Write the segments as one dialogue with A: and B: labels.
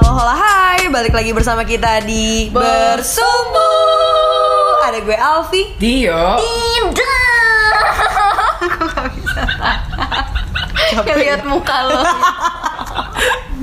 A: hola hai Balik lagi bersama kita di Bersumbu Ada gue Alfi
B: Dio.
C: Kayak lihat muka lo.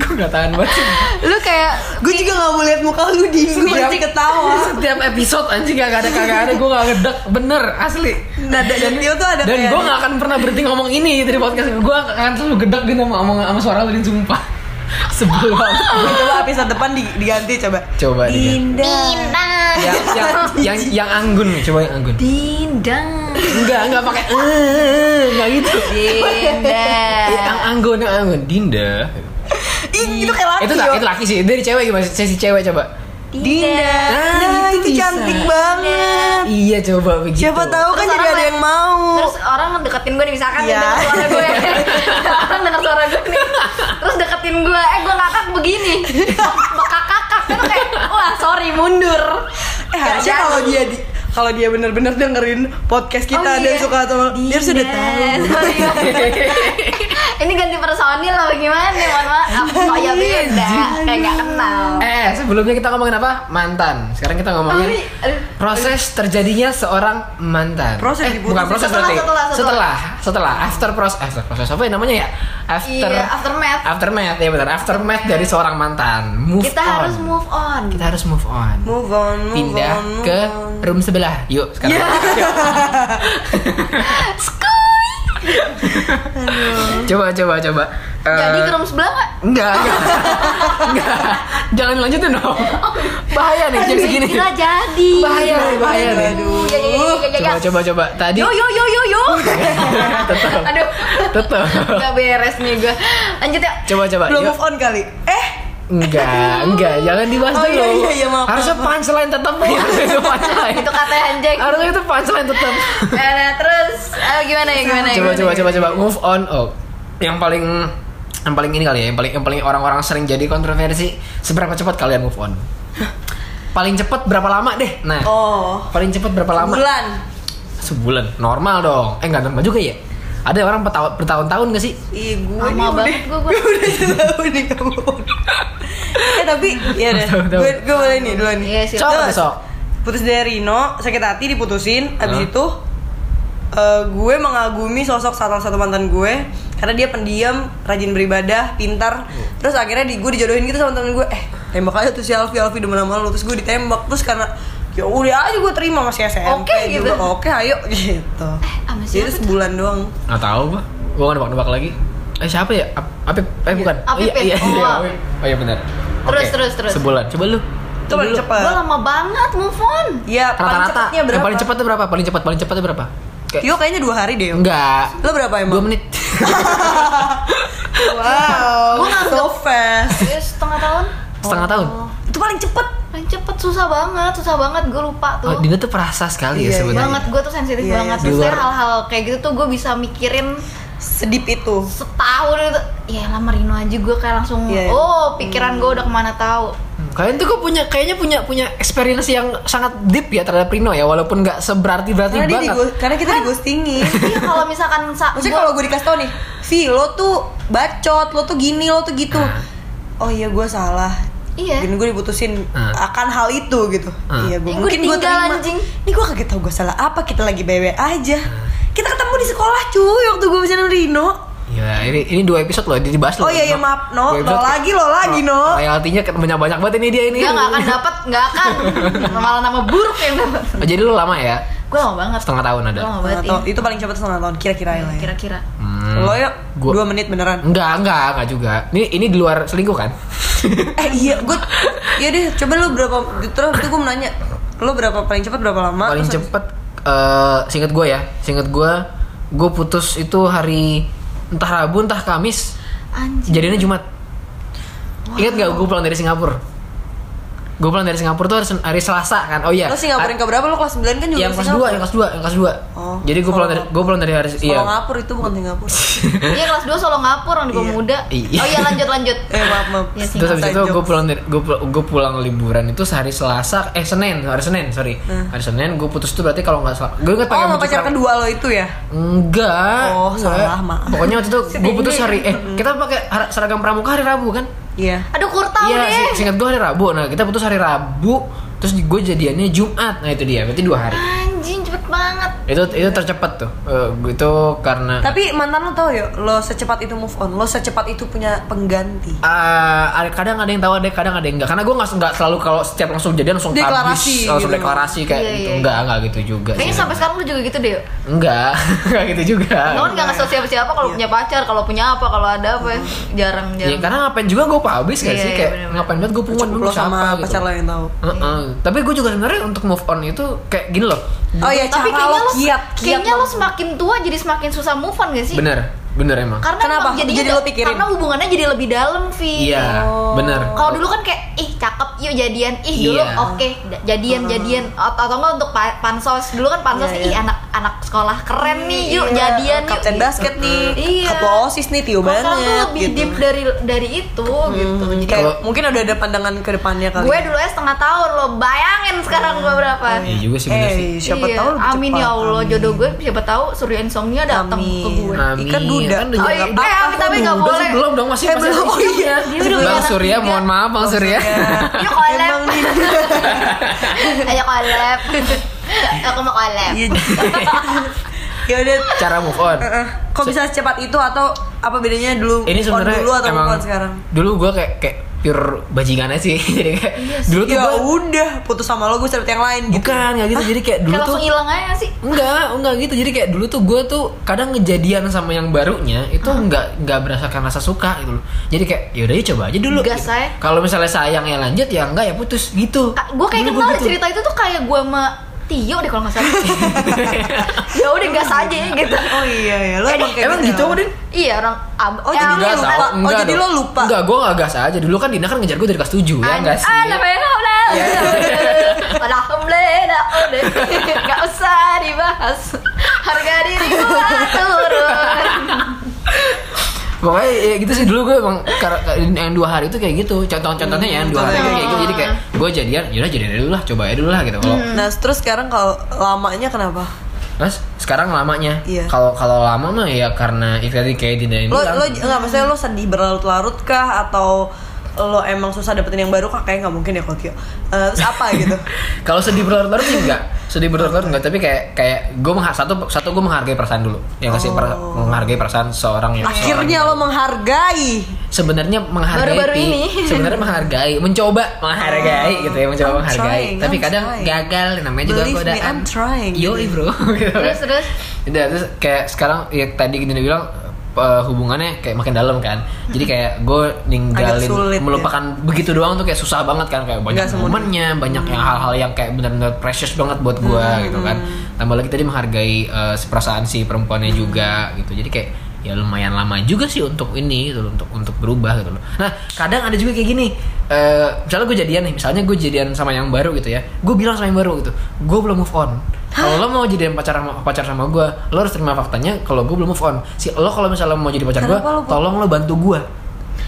B: Gue gak tahan banget. sih.
C: Lu kayak
A: Gue juga gak mau lihat muka lu di Gue
B: Setiap-
A: pasti ketawa
B: Setiap episode anjing gak ada kagak ada gue gak ngedek bener asli.
A: Nada dan Tio tuh ada
B: Dan
A: kayak
B: gue gak akan pernah berhenti ngomong ini dari podcast ini. Gue akan selalu gedek gitu sama, sama, sama suara lu din sumpah. Sebelum
A: Gue Coba episode depan di- diganti coba
B: Coba dia.
A: Dinda
C: Dindang.
B: yang, yang, yang, yang anggun, coba yang anggun.
C: Dindang.
B: Enggak, enggak pakai eh, enggak gitu. Eh,
C: Dindang.
B: Yang anggun, yang anggun. Dinda.
A: Ih itu kayak laki
B: Itu
A: yo.
B: tak, itu laki sih. Dari cewek gimana? Sesi cewek coba.
A: Dinda Nah
B: Ah,
A: itu
B: itu bisa.
A: cantik banget
B: Iya coba begitu.
A: Siapa tahu kan
C: Gitu. Terus
A: jadi
C: orang
A: ada
C: yang-
A: yang mau Eh,
C: Terus orang deketin gue nih misalkan
A: Iya.
C: dengar suara gue. orang dengar suara gue nih. Terus deketin gue, eh gue ngakak begini. Bekakakak kan kayak wah sorry mundur.
A: Eh harusnya
C: Jangan.
A: kalau dia di- kalau dia bener-bener dengerin podcast kita
C: Oh,
A: dan
C: iya.
A: suka sama dia
C: Dinda.
A: sudah tahu.
C: Iya, Sorry. Ini ganti personil lah gimana? Mohon maaf,
B: Iya,
C: soalnya beda, kayak gak kenal.
B: Eh, sebelumnya kita ngomongin apa? Mantan. Sekarang kita ngomongin
C: Tapi, Oh, aduh.
B: proses terjadinya seorang mantan.
A: Proses
B: eh,
A: dibutuh.
B: bukan proses
C: Setelah,
B: berarti.
C: setelah, setelah.
B: setelah, setelah. after proses, after proses apa ya namanya ya? After
C: Iya, aftermath.
B: Aftermath ya benar. Aftermath dari seorang mantan. Move
C: Kita
B: on.
C: harus move on.
B: Kita harus move on.
A: Move on, move
B: Pindah
A: on, move
B: ke
A: on.
B: room sebelah. Yuk sekarang.
C: Iya.
B: coba coba coba. Eh,
C: Jadi ke room sebelah gak?
B: Enggak, enggak. enggak. Jangan lanjutin dong. Bahaya nih jam segini.
C: Gila Iya, jadi. Iya,
B: Bahaya, nih, bahaya nih.
C: Aduh, ya, ya, ya, ya, ya.
B: Coba Iya. coba coba. Tadi
C: Yo
A: Oh, iya.
C: yo yo yo yo.
B: tetap
C: Aduh.
B: tetap.
C: Gak beres nih gue. Lanjut ya.
B: Coba coba.
A: Belum
B: yuk.
A: move on kali. Eh,
B: Enggak, enggak. Jangan dibahas
A: Oh,
B: dulu.
A: iya, iya, iya, maaf,
B: Harusnya
A: maaf. Iya.
B: punchline tetap. Harusnya itu punchline.
C: Itu kata anjing.
B: Harusnya itu punchline tetap.
C: Eh, nah, terus eh, gimana ya
A: Nah,
C: gimana ya?
B: Coba
C: gimana
B: coba
C: ya?
B: coba coba move on. Oh, yang paling yang paling ini kali ya, yang paling yang paling orang-orang sering jadi kontroversi. Seberapa cepat kalian move on? Paling cepat berapa lama deh? Nah,
A: oh.
B: paling cepat berapa lama?
A: Bulan.
B: Sebulan. Normal dong. Eh nggak normal juga ya? Ada orang bertahun- bertahun-tahun gak sih?
A: Ih, gue
C: Lama
A: nih udah.
C: banget gue- gue.
A: Gue udah tahu nih kamu. eh tapi ya deh.
B: Tahu, tahu.
A: Gue gue boleh nih dulu nih.
C: Iya,
A: Terus,
B: Sok, sok.
A: Putus dari Rino, sakit hati diputusin. Abis
B: Hah?
A: itu eh, gue mengagumi sosok salah satu mantan gue karena dia pendiam, rajin beribadah, pintar. Terus akhirnya di, gue dijodohin gitu sama temen gue. Eh, tembak aja tuh si Alfi, Alfi udah lama lu. Terus gue ditembak. Terus karena ya udah aja gue terima masih SMP
C: Oke, gitu.
A: juga. Oke, ayo gitu.
C: sama
A: Jadi
C: siapa tuh?
A: sebulan doang.
B: Nggak tahu gua. Gua nggak nebak-nebak lagi. Eh siapa ya? Ap- Apip? Eh bukan.
C: Apip
B: oh, iya, iya,
C: ya?
B: iya,
C: Oh.
B: Apip. Oh iya benar.
C: Terus,
B: Oke.
C: terus, terus.
B: Sebulan. Coba lu.
A: Itu paling cepat.
C: Gue lama banget move on.
A: Iya, paling
B: Rata-rata.
A: cepatnya berapa?
B: Yang paling ya? cepatnya berapa? Paling cepat, paling cepatnya berapa? Kayak
A: Tio kayaknya dua hari deh. Yo.
B: enggak.
A: Lo berapa emang?
B: Dua menit.
A: Wow,
C: Gua nganggep-
A: so fast.
C: Eh, setengah tahun. Oh,
B: Setengah tahun.
A: Itu paling cepet.
C: Paling cepet susah banget, susah banget gue lupa tuh.
B: Oh, Dina tuh perasa sekali
A: Iya,
B: ya sebenarnya.
C: banget gue tuh sensitif
A: Iya, iya.
C: banget
B: Di
C: Maksudnya
B: luar-
C: hal-hal kayak gitu tuh gue bisa mikirin
A: Sedip itu.
C: setahun itu ya lah merino aja gue kayak langsung
A: Iya, iya.
C: oh pikiran gue udah kemana tahu
B: Hmm. Kalian tuh kok punya kayaknya punya punya experience yang sangat deep ya terhadap Rino ya walaupun nggak seberarti berarti
A: Karena dia
B: banget. Kan
A: digo- karena kita digostingin.
C: iya kalau misalkan sa
A: Maksudnya
C: gua-
A: kalau gue dikasih tau nih, Vi lo tuh bacot, lo tuh gini, lo tuh gitu.
B: Ah.
A: Oh iya gue salah.
C: iya
A: Dan gue diputusin
B: Ah.
A: akan hal itu gitu.
B: Ah.
A: Iya gue
C: Eh, gua
A: mungkin gue
C: ditinggal,
A: terima.
C: anjing.
A: Ini gue kaget tau gue salah apa. Kita lagi bebe aja.
B: Ah.
A: Kita ketemu di sekolah cuy waktu gue bersama Rino.
B: Gila, Iya, ini ini dua episode loh, ini dibahas
A: Oh
B: loh.
A: iya iya
B: Dua
A: maaf no,
B: episode
A: no
B: kayak-
A: lagi lo lagi
B: Oh,
A: no.
B: iya, Royaltinya banyak banyak banget ini dia ini.
C: Enggak, nggak akan dapat, nggak akan. Malah nama buruk yang dapat.
B: Oh, jadi lu lama ya?
C: Gue lama banget.
B: Setengah tahun ada.
C: Gue lama
A: Setengah
C: banget.
A: tahun.
C: iya.
A: Itu paling cepat setengah tahun kira-kira
B: iya.
A: ya. lah ya.
C: Kira-kira.
B: Hmm.
A: Lo yuk
B: Gua- Hmm?
A: dua menit beneran.
B: Enggak, enggak, enggak juga. Ini ini di luar selingkuh kan?
A: eh iya gue iya deh coba lu berapa terus itu gue mau nanya lu berapa paling cepat berapa lama
B: Paling
A: Terus-
B: cepet eh singkat gue ya, singkat gue gue putus itu hari entah Rabu entah Kamis.
C: Anjing.
B: Jadinya Jumat. Ingat gak gue pulang dari Singapura? Gue pulang dari Singapura tuh hari, Sen- hari Selasa kan? Oh iya.
A: lu Singapura yang keberapa lu kelas 9 kan juga
B: yang
A: ke
B: kelas ya,
A: Singapura.
B: 2, yang kelas 2, yang kelas 2.
A: Oh,
B: Jadi gue pulang dari
A: Solo-
B: gue pulang dari hari iya.
A: Kalau ngapur itu bukan Singapura
C: Iya kelas 2 solo ngapur orang di pemuda.
B: Iya.
C: Oh iya lanjut lanjut.
A: eh maaf maaf Oh,
C: Iya, sih.
B: Terus habis itu
A: Jokes.
B: gue pulang dari gue pulang, gue pulang liburan itu sehari Selasa eh Senin hari Senin sorry hari Senin gue putus tuh berarti kalau nggak salah gue ingat
A: Nah. oh sama
B: pakai baju
A: pacar
B: kerang-
A: kedua lo itu ya
B: enggak
A: Oh,
B: enggak.
A: salah, maaf.
B: pokoknya waktu itu
A: Si
B: gue putus
A: Dindi.
B: hari eh kita pakai har- seragam pramuka hari Rabu kan
A: Iya.
C: Aduh kurtau
B: Iya,
C: deh.
B: se- seingat gue hari Rabu. Nah, kita putus hari Rabu, terus gue jadiannya Jumat. Nah, itu dia. Berarti dua hari.
C: Anjing cepet banget.
B: Itu itu tercepat tuh. Eh, gue itu karena
A: Tapi mantan lo tau ya, lo secepat itu move on, lo secepat itu punya pengganti.
B: Eh, ada- kadang ada yang tahu ada kadang ada yang enggak karena gue nggak nggak selalu kalau setiap langsung jadian langsung
A: Deklarasi
B: tabis, langsung
A: gitu.
B: deklarasi kayak
C: Iya,
B: gitu
C: iya.
B: enggak enggak gitu juga
C: Kayaknya
B: sih.
C: sampai sekarang lu juga gitu deh. yuk.
B: Iya. enggak enggak gitu juga
C: Lo kan gak ngasih tau siapa-siapa kalau
A: Iya.
C: punya pacar, kalau punya apa, kalau ada apa ya. Jarang,
B: ya
C: jarang.
B: karena ngapain juga gue pabis gak
C: Iya,
B: sih
C: iya,
B: kayak
C: bener-bener.
B: ngapain banget gue pungun
A: Cukup lo sama pacar
C: ya.
A: lo yang tahu.
B: gitu. Heeh. tapi gue juga sebenarnya untuk move on itu kayak gini loh
A: Oh iya,
C: Tapi
A: cara lo
C: kayaknya lo,
A: kiat, kiat
C: kayaknya lo
A: banget.
C: semakin tua jadi semakin susah move on gak sih?
B: bener bener emang
C: Karena
A: Kenapa?
C: emang jadinya
A: Jadi lo pikirin.
C: Karena hubungannya jadi lebih dalam, Vi.
B: iya
A: Oh.
B: bener
C: Kalau dulu kan kayak ih cakep yuk jadian, ih dulu
B: Iya.
C: oke da- jadian jadian atau, atau enggak untuk pa- pansos. Dulu kan pansos
A: Hmm. Iya,
C: ih
A: iya.
C: anak-anak sekolah keren nih yuk
A: Iya,
C: jadian yuk. gitu.
A: Kapten basket nih,
C: Iya.
A: ketua OSIS nih, Tio
C: Kalau sekarang tuh
A: banget
C: lebih
A: gitu.
C: deep dari dari itu gitu.
A: Hmm,
C: Jadi
A: kayak
B: Kalau-
A: mungkin udah ada pandangan ke depannya kali. ya.
C: gue dulu aja setengah tahun lo bayangin sekarang gue berapa.
B: Iya juga sih bener
A: Eh,
B: sih.
A: Hmm. Siapa
C: Iya,
A: tahu lebih
C: Amin
A: cepat.
C: ya Allah
A: Amin.
C: jodoh gue siapa tahu Surya Insomnia datang ke gue.
B: Amin.
A: Ikan duda.
B: Kan udah
C: Oh,
B: jangan-
C: iya. Eh,
A: Apa
C: Amin, tapi
A: lu?
C: nggak
B: Udah sih
C: boleh.
B: belum dong masih
A: Eh,
B: masih
A: belum.
B: ada
A: Oh,
B: isinya.
C: iya. Dia udah
B: Bang
C: anak
B: Surya
C: tiga.
B: mohon maaf Bang Surya.
C: Yuk collab.
A: ya. Emang nih.
C: Ayo collab. Aku mau collab.
A: Iya. Ya udah.
B: Cara move on.
A: Eh, Kok bisa secepat itu atau apa bedanya dulu
B: Ini sebenarnya
A: on dulu atau
B: emang
A: move on sekarang?
B: dulu gue kayak kayak pure bajingan aja sih. Jadi kayak dulu tuh
A: Ya
B: gue
A: udah, putus sama lo gue cari yang lain gitu.
B: bukan nggak gitu. Jadi kayak dulu
C: Kayak
B: tuh
C: langsung hilang aja sih.
B: Enggak, enggak gitu. Jadi kayak dulu tuh gue tuh kadang ngejadian sama yang barunya itu enggak enggak berdasarkan rasa suka gitu loh. Jadi kayak yaudah ya coba aja dulu.
C: Gas
B: gitu.
C: aja.
B: Kalau misalnya sayangnya lanjut ya enggak ya putus gitu.
C: gue Ah, kayak
A: Iya,
B: Dulu
C: kenal
B: gua
C: deh cerita itu tuh kayak gue sama Tio deh kalau nggak salah. ya udah gas aja ya, gitu.
A: Oh iya ya, lo emang kayak
B: Emang gitu, Din?
C: Iya orang ab-
A: Oh, jadi lu
B: Enggak, tau.
A: lupa. Oh,
B: Enggak
A: jadi
B: dong.
A: lo lupa.
B: Enggak, gue gak gas aja Dulu kan Dina kan ngejar gue dari kelas 7
A: Iya,
B: Ya enggak sih
C: Ah, lah, lah, lah, lah. Alhamdulillah, lah, udah. oh, Nggak usah dibahas. Harga diri gua turun.
B: Pokoknya ya gitu sih dulu gue emang kar- kar- Yang dua hari itu kayak gitu Contoh-contohnya ya yang dua hari itu kayak gitu Jadi kayak
A: Hmm.
B: gue jadian Yaudah jadian dulu lah Coba aja dulu lah gitu Kalau
A: Nah, terus sekarang kalau lamanya kenapa?
B: Mas sekarang lamanya
A: Iya.
B: Kalau kalau lama mah ya karena Itu tadi kayak Dina yang
A: Lo
B: bilang
A: lo enggak maksudnya lo sedih berlarut-larut kah atau lo emang susah dapetin yang baru kah kayak nggak mungkin ya kalau Tio. Eh, terus apa gitu?
B: Kalau sedih berlarut-larut sih enggak Sedih berlarut-larut enggak Tapi kayak kayak gue menghargai Satu, satu gue menghargai perasaan dulu Ya Yang kasih per- menghargai perasaan seorang yang
A: Oh. Akhirnya lo menghargai.
B: sebenarnya menghargai
C: Baru-baru
B: Pi.
C: ini.
B: sebenarnya menghargai mencoba menghargai gitu ya mencoba
A: Oh. I'm
B: menghargai
A: trying,
B: tapi
A: I'm
B: kadang
A: trying.
B: gagal namanya juga
A: Believe me,
B: godaan
A: I'm trying.
B: yoi bro gitu.
C: Terus terus.
B: Udah, terus kayak sekarang ya tadi gini bilang eh, hubungannya kayak makin dalam kan jadi kayak gue ninggalin
A: Agak sulit, ya.
B: melupakan begitu doang tuh kayak susah banget kan kayak banyak
A: Nggak semudah.
B: momennya banyak yang hal-hal yang kayak benar-benar precious banget buat gue gitu kan tambah lagi tadi menghargai eh, si perasaan si perempuannya juga gitu jadi kayak ya lumayan lama juga sih untuk ini gitu loh, untuk untuk berubah gitu loh nah kadang ada juga kayak gini eh, misalnya gue jadian nih misalnya gue jadian sama yang baru gitu ya gue bilang sama yang baru gitu gue belum move on kalau lo mau jadian pacar sama pacar sama gue lo harus terima faktanya kalau gue belum move on si lo kalau misalnya mau jadi pacar gue
A: Kenapa lo-
B: tolong lo bantu gue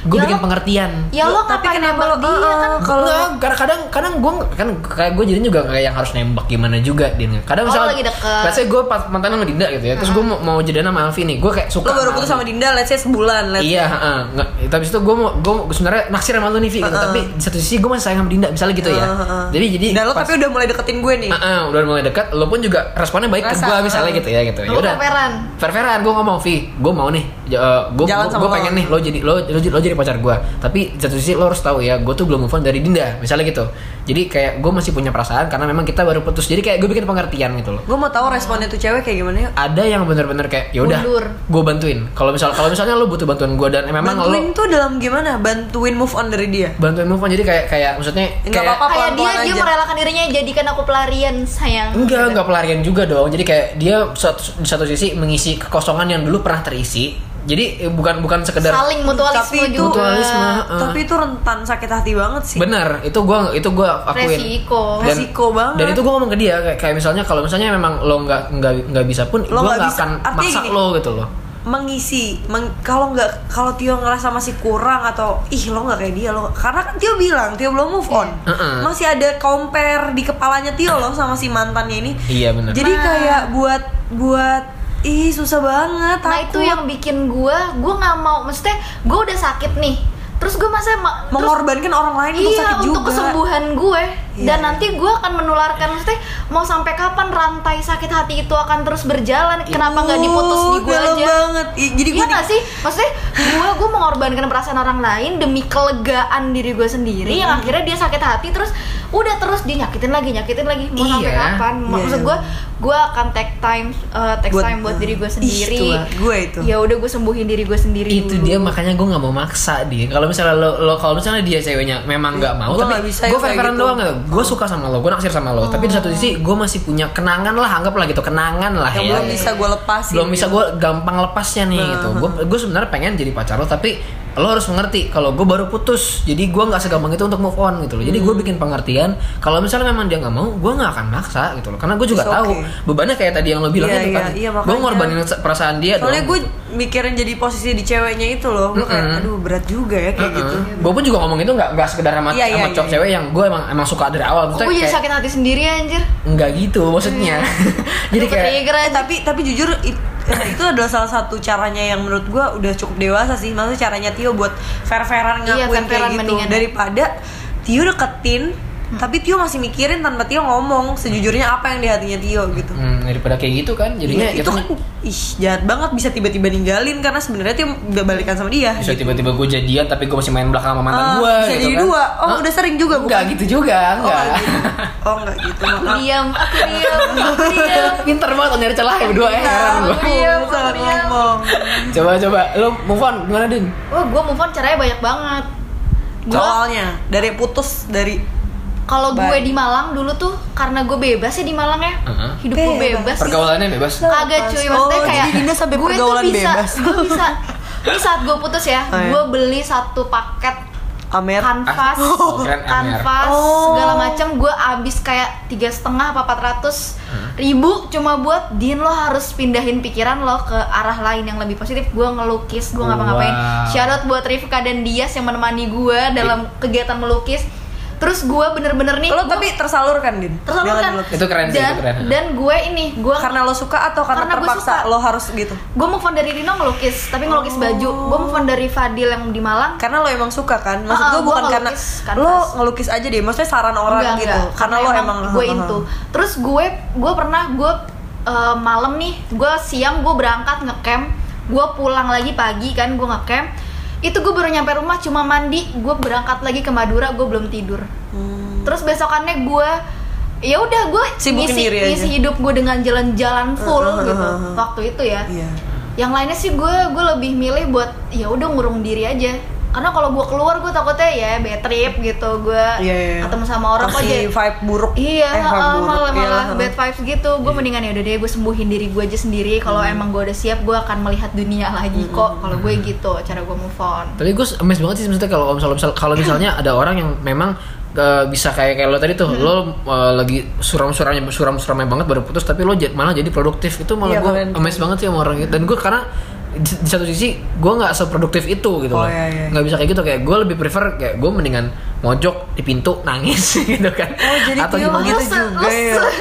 B: gue
C: Ya
B: bikin
C: lo-
B: pengertian
C: Ya lo
A: Tapi kenapa
C: ngapain
A: lo-
C: nembak dia
A: eh,
C: kan?
A: eh,
B: kalau
A: kalau-
B: kadang kadang kadang gue kan kayak gue jadinya juga kayak yang harus nembak gimana juga din kadang
C: Oh,
B: misalnya
C: lagi deket.
B: let's say gue mantan sama Dinda gitu ya terus gue mau, mau jadian sama Alfi nih gue kayak suka
A: Lo baru putus sama
B: Alfi.
A: Dinda let's say sebulan, let's
B: Iya, heeh. Nggak, tapi itu gue mau gue sebenarnya naksir sama lu nih, Vi, gitu. tapi di satu sisi gue masih sayang sama Dinda, misalnya gitu ya.
A: Heeh, heeh.
B: Jadi jadi
A: Dan lo
B: pas- Ah.
A: tapi udah mulai deketin gue nih.
B: Heeh, Eh, udah mulai dekat, lo pun juga responnya baik
A: Ngerasa,
B: ke gue
A: heeh.
B: misalnya gitu ya gitu.
C: Lo fair-fairan.
B: Fair-fairan, gue ngomong Vi, gue mau nih, eh, gue
A: Jalan sama
B: gue
A: lo."
B: pengen nih lo jadi lo, lo, lo jadi pacar gue. Tapi di satu sisi lo harus tahu ya, gue tuh belum move on dari Dinda, misalnya gitu. Jadi kayak gue masih punya perasaan karena memang kita baru putus. Jadi kayak gue bikin pengertian gitu loh
A: Gue mau tahu responnya tuh cewek kayak gimana ya.
B: ada yang bener-bener kayak ya udah
C: Mundur.
B: gue bantuin kalau misal kalau misalnya lo butuh bantuan gue dan eh, memang lo
A: Bantuin tuh dalam gimana? Bantuin move on dari dia.
B: bantuin move on jadi kayak kayak maksudnya
A: Nggak
B: kayak
A: apa-apa.
C: Kayak dia
A: pelan-pelan
C: dia
A: aja.
C: merelakan dirinya jadikan aku pelarian sayang.
B: enggak enggak pelarian juga dong jadi kayak dia satu, di satu sisi mengisi kekosongan yang dulu pernah terisi jadi eh, bukan bukan sekedar
C: Saling mutualisme
A: Tapi itu-
C: juga.
B: Mutualisme. Heeh.
A: Tapi itu rentan sakit hati banget sih.
B: benar itu gue itu gue akuin
C: Resiko.
A: Resiko banget.
B: dan itu gue ngomong ke dia kayak, kayak misalnya kalau misalnya memang lo nggak nggak nggak bisa pun gue
A: Lo nggak
B: nggak
A: bisa.
B: akan
A: Artinya
B: maksa
A: gini.
B: lo gitu loh
A: mengisi meng- kalau nggak kalau Tio ngerasa masih kurang atau ih lo nggak kayak dia lo karena kan Tio bilang Tio belum move on
B: Iya. Heeh.
A: masih ada compare di kepalanya Tio lo sama si mantannya ini
B: Iya, bener.
A: jadi kayak buat buat ih susah banget
C: Nah
A: takut.
C: itu yang bikin gue, gue nggak mau. Maksudnya gue udah sakit nih, terus gue masa ma- terus-
A: mengorbankan orang lain untuk
C: iya
A: sakit juga
C: untuk kesembuhan gue
A: Iya.
C: dan nanti gue akan menularkan maksudnya mau sampai kapan rantai sakit hati itu akan terus berjalan kenapa nggak diputus di
A: Uh,
C: gue
A: dalam
C: aja
A: banget Ih, jadi gue
C: iya gak sih? Maksudnya gue gue mengorbankan perasaan orang lain demi kelegaan diri gue sendiri yang akhirnya dia sakit hati terus udah terus dia nyakitin lagi nyakitin lagi mau sampai
B: Iya.
C: kapan?
A: Iya,
C: Maksud
A: iya.
C: gue gue akan take time eh, take
A: Buat-
C: time buat diri gue
A: Ih,
C: sendiri.
A: itu lah, gue itu.
C: Ya udah gue sembuhin diri gue sendiri.
B: itu
C: dulu.
B: dia makanya gue nggak mau maksa dia kalau misalnya lo, lo kalau misalnya dia ceweknya memang nggak mau
A: Gua
B: tapi
A: nggak bisa ya
B: gue
A: kayak
B: fair fairan
A: gitu. Oh.
B: doang gue suka sama lo gue naksir sama lo tapi di satu sisi gue masih punya kenangan lah anggaplah gitu kenangan lah
A: yang
B: ya
A: belum bisa gue lepasin
B: belum bisa gue gampang lepasnya nih gitu gue
A: Nah.
B: gue sebenarnya pengen jadi pacar lo tapi lo harus mengerti kalau gue baru putus jadi gue nggak segampang itu untuk move on gitu loh jadi
A: Hmm.
B: gue bikin pengertian kalau misalnya memang dia nggak mau gue nggak akan maksa gitu loh karena gue juga
A: It's
B: tahu
A: okay.
B: bebannya kayak tadi yang lo bilang
A: Iya,
B: itu kan
A: iya, iya,
B: gue
A: makanya.
B: ngorbanin perasaan dia
A: soalnya
B: dong,
A: gue
B: gitu.
A: mikirin jadi posisi di ceweknya itu loh gue kayak aduh berat juga ya kayak gitu
B: Gue pun juga ngomong itu nggak nggak sekedar sama
A: Iya, iya,
B: sama
A: iya,
B: cowok
A: iya. Oh,
B: cewek yang gue emang emang suka dari awal.
C: Kok gue jadi sakit hati sendiri anjir?
B: Enggak gitu maksudnya.
A: Hmm.
B: jadi
C: Dapet
B: kayak
C: trigger
A: Eh,
C: aja.
A: tapi tapi jujur it- eh, itu adalah salah satu caranya yang menurut gue udah cukup dewasa sih maksudnya caranya Tio buat fair-fairan ngakuin
C: Iya, fair-fairan
A: kayak gitu
C: mendingan. Hmm.
A: daripada Tio deketin tapi Tio masih mikirin tanpa Tio ngomong sejujurnya apa yang di hatinya Tio gitu
B: Hmm, daripada kayak gitu kan jadinya
A: Iya, itu
B: kita
A: kan ih jahat banget bisa tiba-tiba ninggalin karena sebenarnya Tio udah balikan sama dia
B: bisa tiba-tiba gue jadian tapi gue masih main belakang sama mantan
A: Ah,
B: gue
A: bisa
B: gitu
A: jadi
B: kan.
A: dua. Oh,
B: Hah?
A: udah sering juga,
B: Enggak
A: bukan?
B: gitu juga, enggak.
A: Oh, gitu. oh enggak gitu
C: Aku
A: maaf.
C: diam, aku diam, aku diam.
B: Pinter banget lo nyari celah ya berdua ya. heran
A: Nah,
B: gua.
C: aku diam, aku
B: iya,
A: salah
C: diam.
A: ngomong.
B: Coba coba lo move on gimana Din?
C: Wah gue move on caranya banyak banget. Gue
A: Soalnya dari putus dari
C: kalau gue
A: Bye.
C: di Malang dulu tuh karena gue bebas ya di Malang ya
B: Heeh.
C: hidup gue
A: Bebas.
C: bebas gitu.
B: Pergaulannya bebas.
A: Ah,
C: kagak cuy maksudnya
A: Oh,
C: kayak
A: jadi Dinda sampai
C: gue tuh
A: pergaulan
C: bisa
A: bebas.
C: gue bisa ini saat gue putus ya
A: Oh, iya.
C: gue beli satu paket
A: Amer.
C: kanvas
B: Oh, keren, Amer.
C: kanvas
A: Oh.
C: segala macam gue abis kayak tiga setengah apa empat ratus
B: Hmm.
C: ribu cuma buat Din lo harus pindahin pikiran lo ke arah lain yang lebih positif gue ngelukis gue ngapa-ngapain
B: Wow.
C: Shout out buat Rifka dan Dias yang menemani gue dalam kegiatan melukis terus gue bener-bener nih
A: Lo
C: gua-
A: tapi tersalurkan, Din. Jangan
C: tersalurkan
A: lo-
B: Itu keren sih,
C: dan,
B: itu keren.
C: dan gue ini gue
A: karena lo suka atau karena,
C: Karena gua
A: terpaksa
C: suka.
A: lo harus gitu
C: gue move on dari Rino ngelukis tapi ngelukis baju gue move on dari Fadil yang di Malang
A: karena lo emang suka kan maksud
C: Ah,
A: gue
C: gua
A: bukan karena
C: ngelukis kanvas.
A: lo ngelukis aja deh maksudnya saran orang
C: Enggak,
A: gitu
C: enggak.
A: karena, lo emang
C: gue itu terus gue gue pernah gue eh, malam nih gue siang gue berangkat ngecamp gue pulang lagi pagi kan gue ngecamp itu gue baru nyampe rumah cuma mandi gue berangkat lagi ke Madura gue belum tidur terus besokannya gue ya udah gue
A: Sibukin
C: ngisi,
A: diri aja.
C: ngisi hidup gue dengan jalan-jalan full
A: Uh, uh, uh,
C: gitu
A: uh, uh.
C: waktu itu ya
A: iya
C: yang lainnya sih gue gue lebih milih buat ya udah ngurung diri aja karena kalau gue keluar gue takutnya ya bad trip gitu gue
A: Iya, iya, iya.
C: ketemu sama orang kok
A: Kasih
C: jadi
A: vibe buruk
C: iya
A: eh, vibe
C: heeh,
A: buruk.
C: malah
A: Iya, heeh.
C: malah
A: Iya.
C: bad vibes gitu gue mendingan ya udah deh gue sembuhin diri gue aja sendiri kalau
A: Hmm.
C: emang gue udah siap gue akan melihat dunia lagi kok kalau gue gitu cara gue move on
B: Tapi gue amazed banget sih maksudnya kalau misalnya misal- kalau misalnya ada orang yang memang eh, bisa kayak kayak lo tadi tuh lo eh, lagi suram-suramnya suram-suramnya banget baru putus tapi lo jad- malah jadi produktif itu
A: Iya,
B: malah gue
A: keren.
B: amazed banget sih sama orang itu dan gue karena di, di satu sisi gue nggak seproduktif itu gitu
A: Oh,
B: loh.
A: iya, iya.
B: nggak bisa kayak gitu kayak gue lebih prefer kayak gue mendingan mojok di pintu nangis gitu kan
A: oh jadi
B: atau
A: Tio
B: gimana
A: gitu
C: Lu se-
A: juga
C: lu
A: ya
C: se-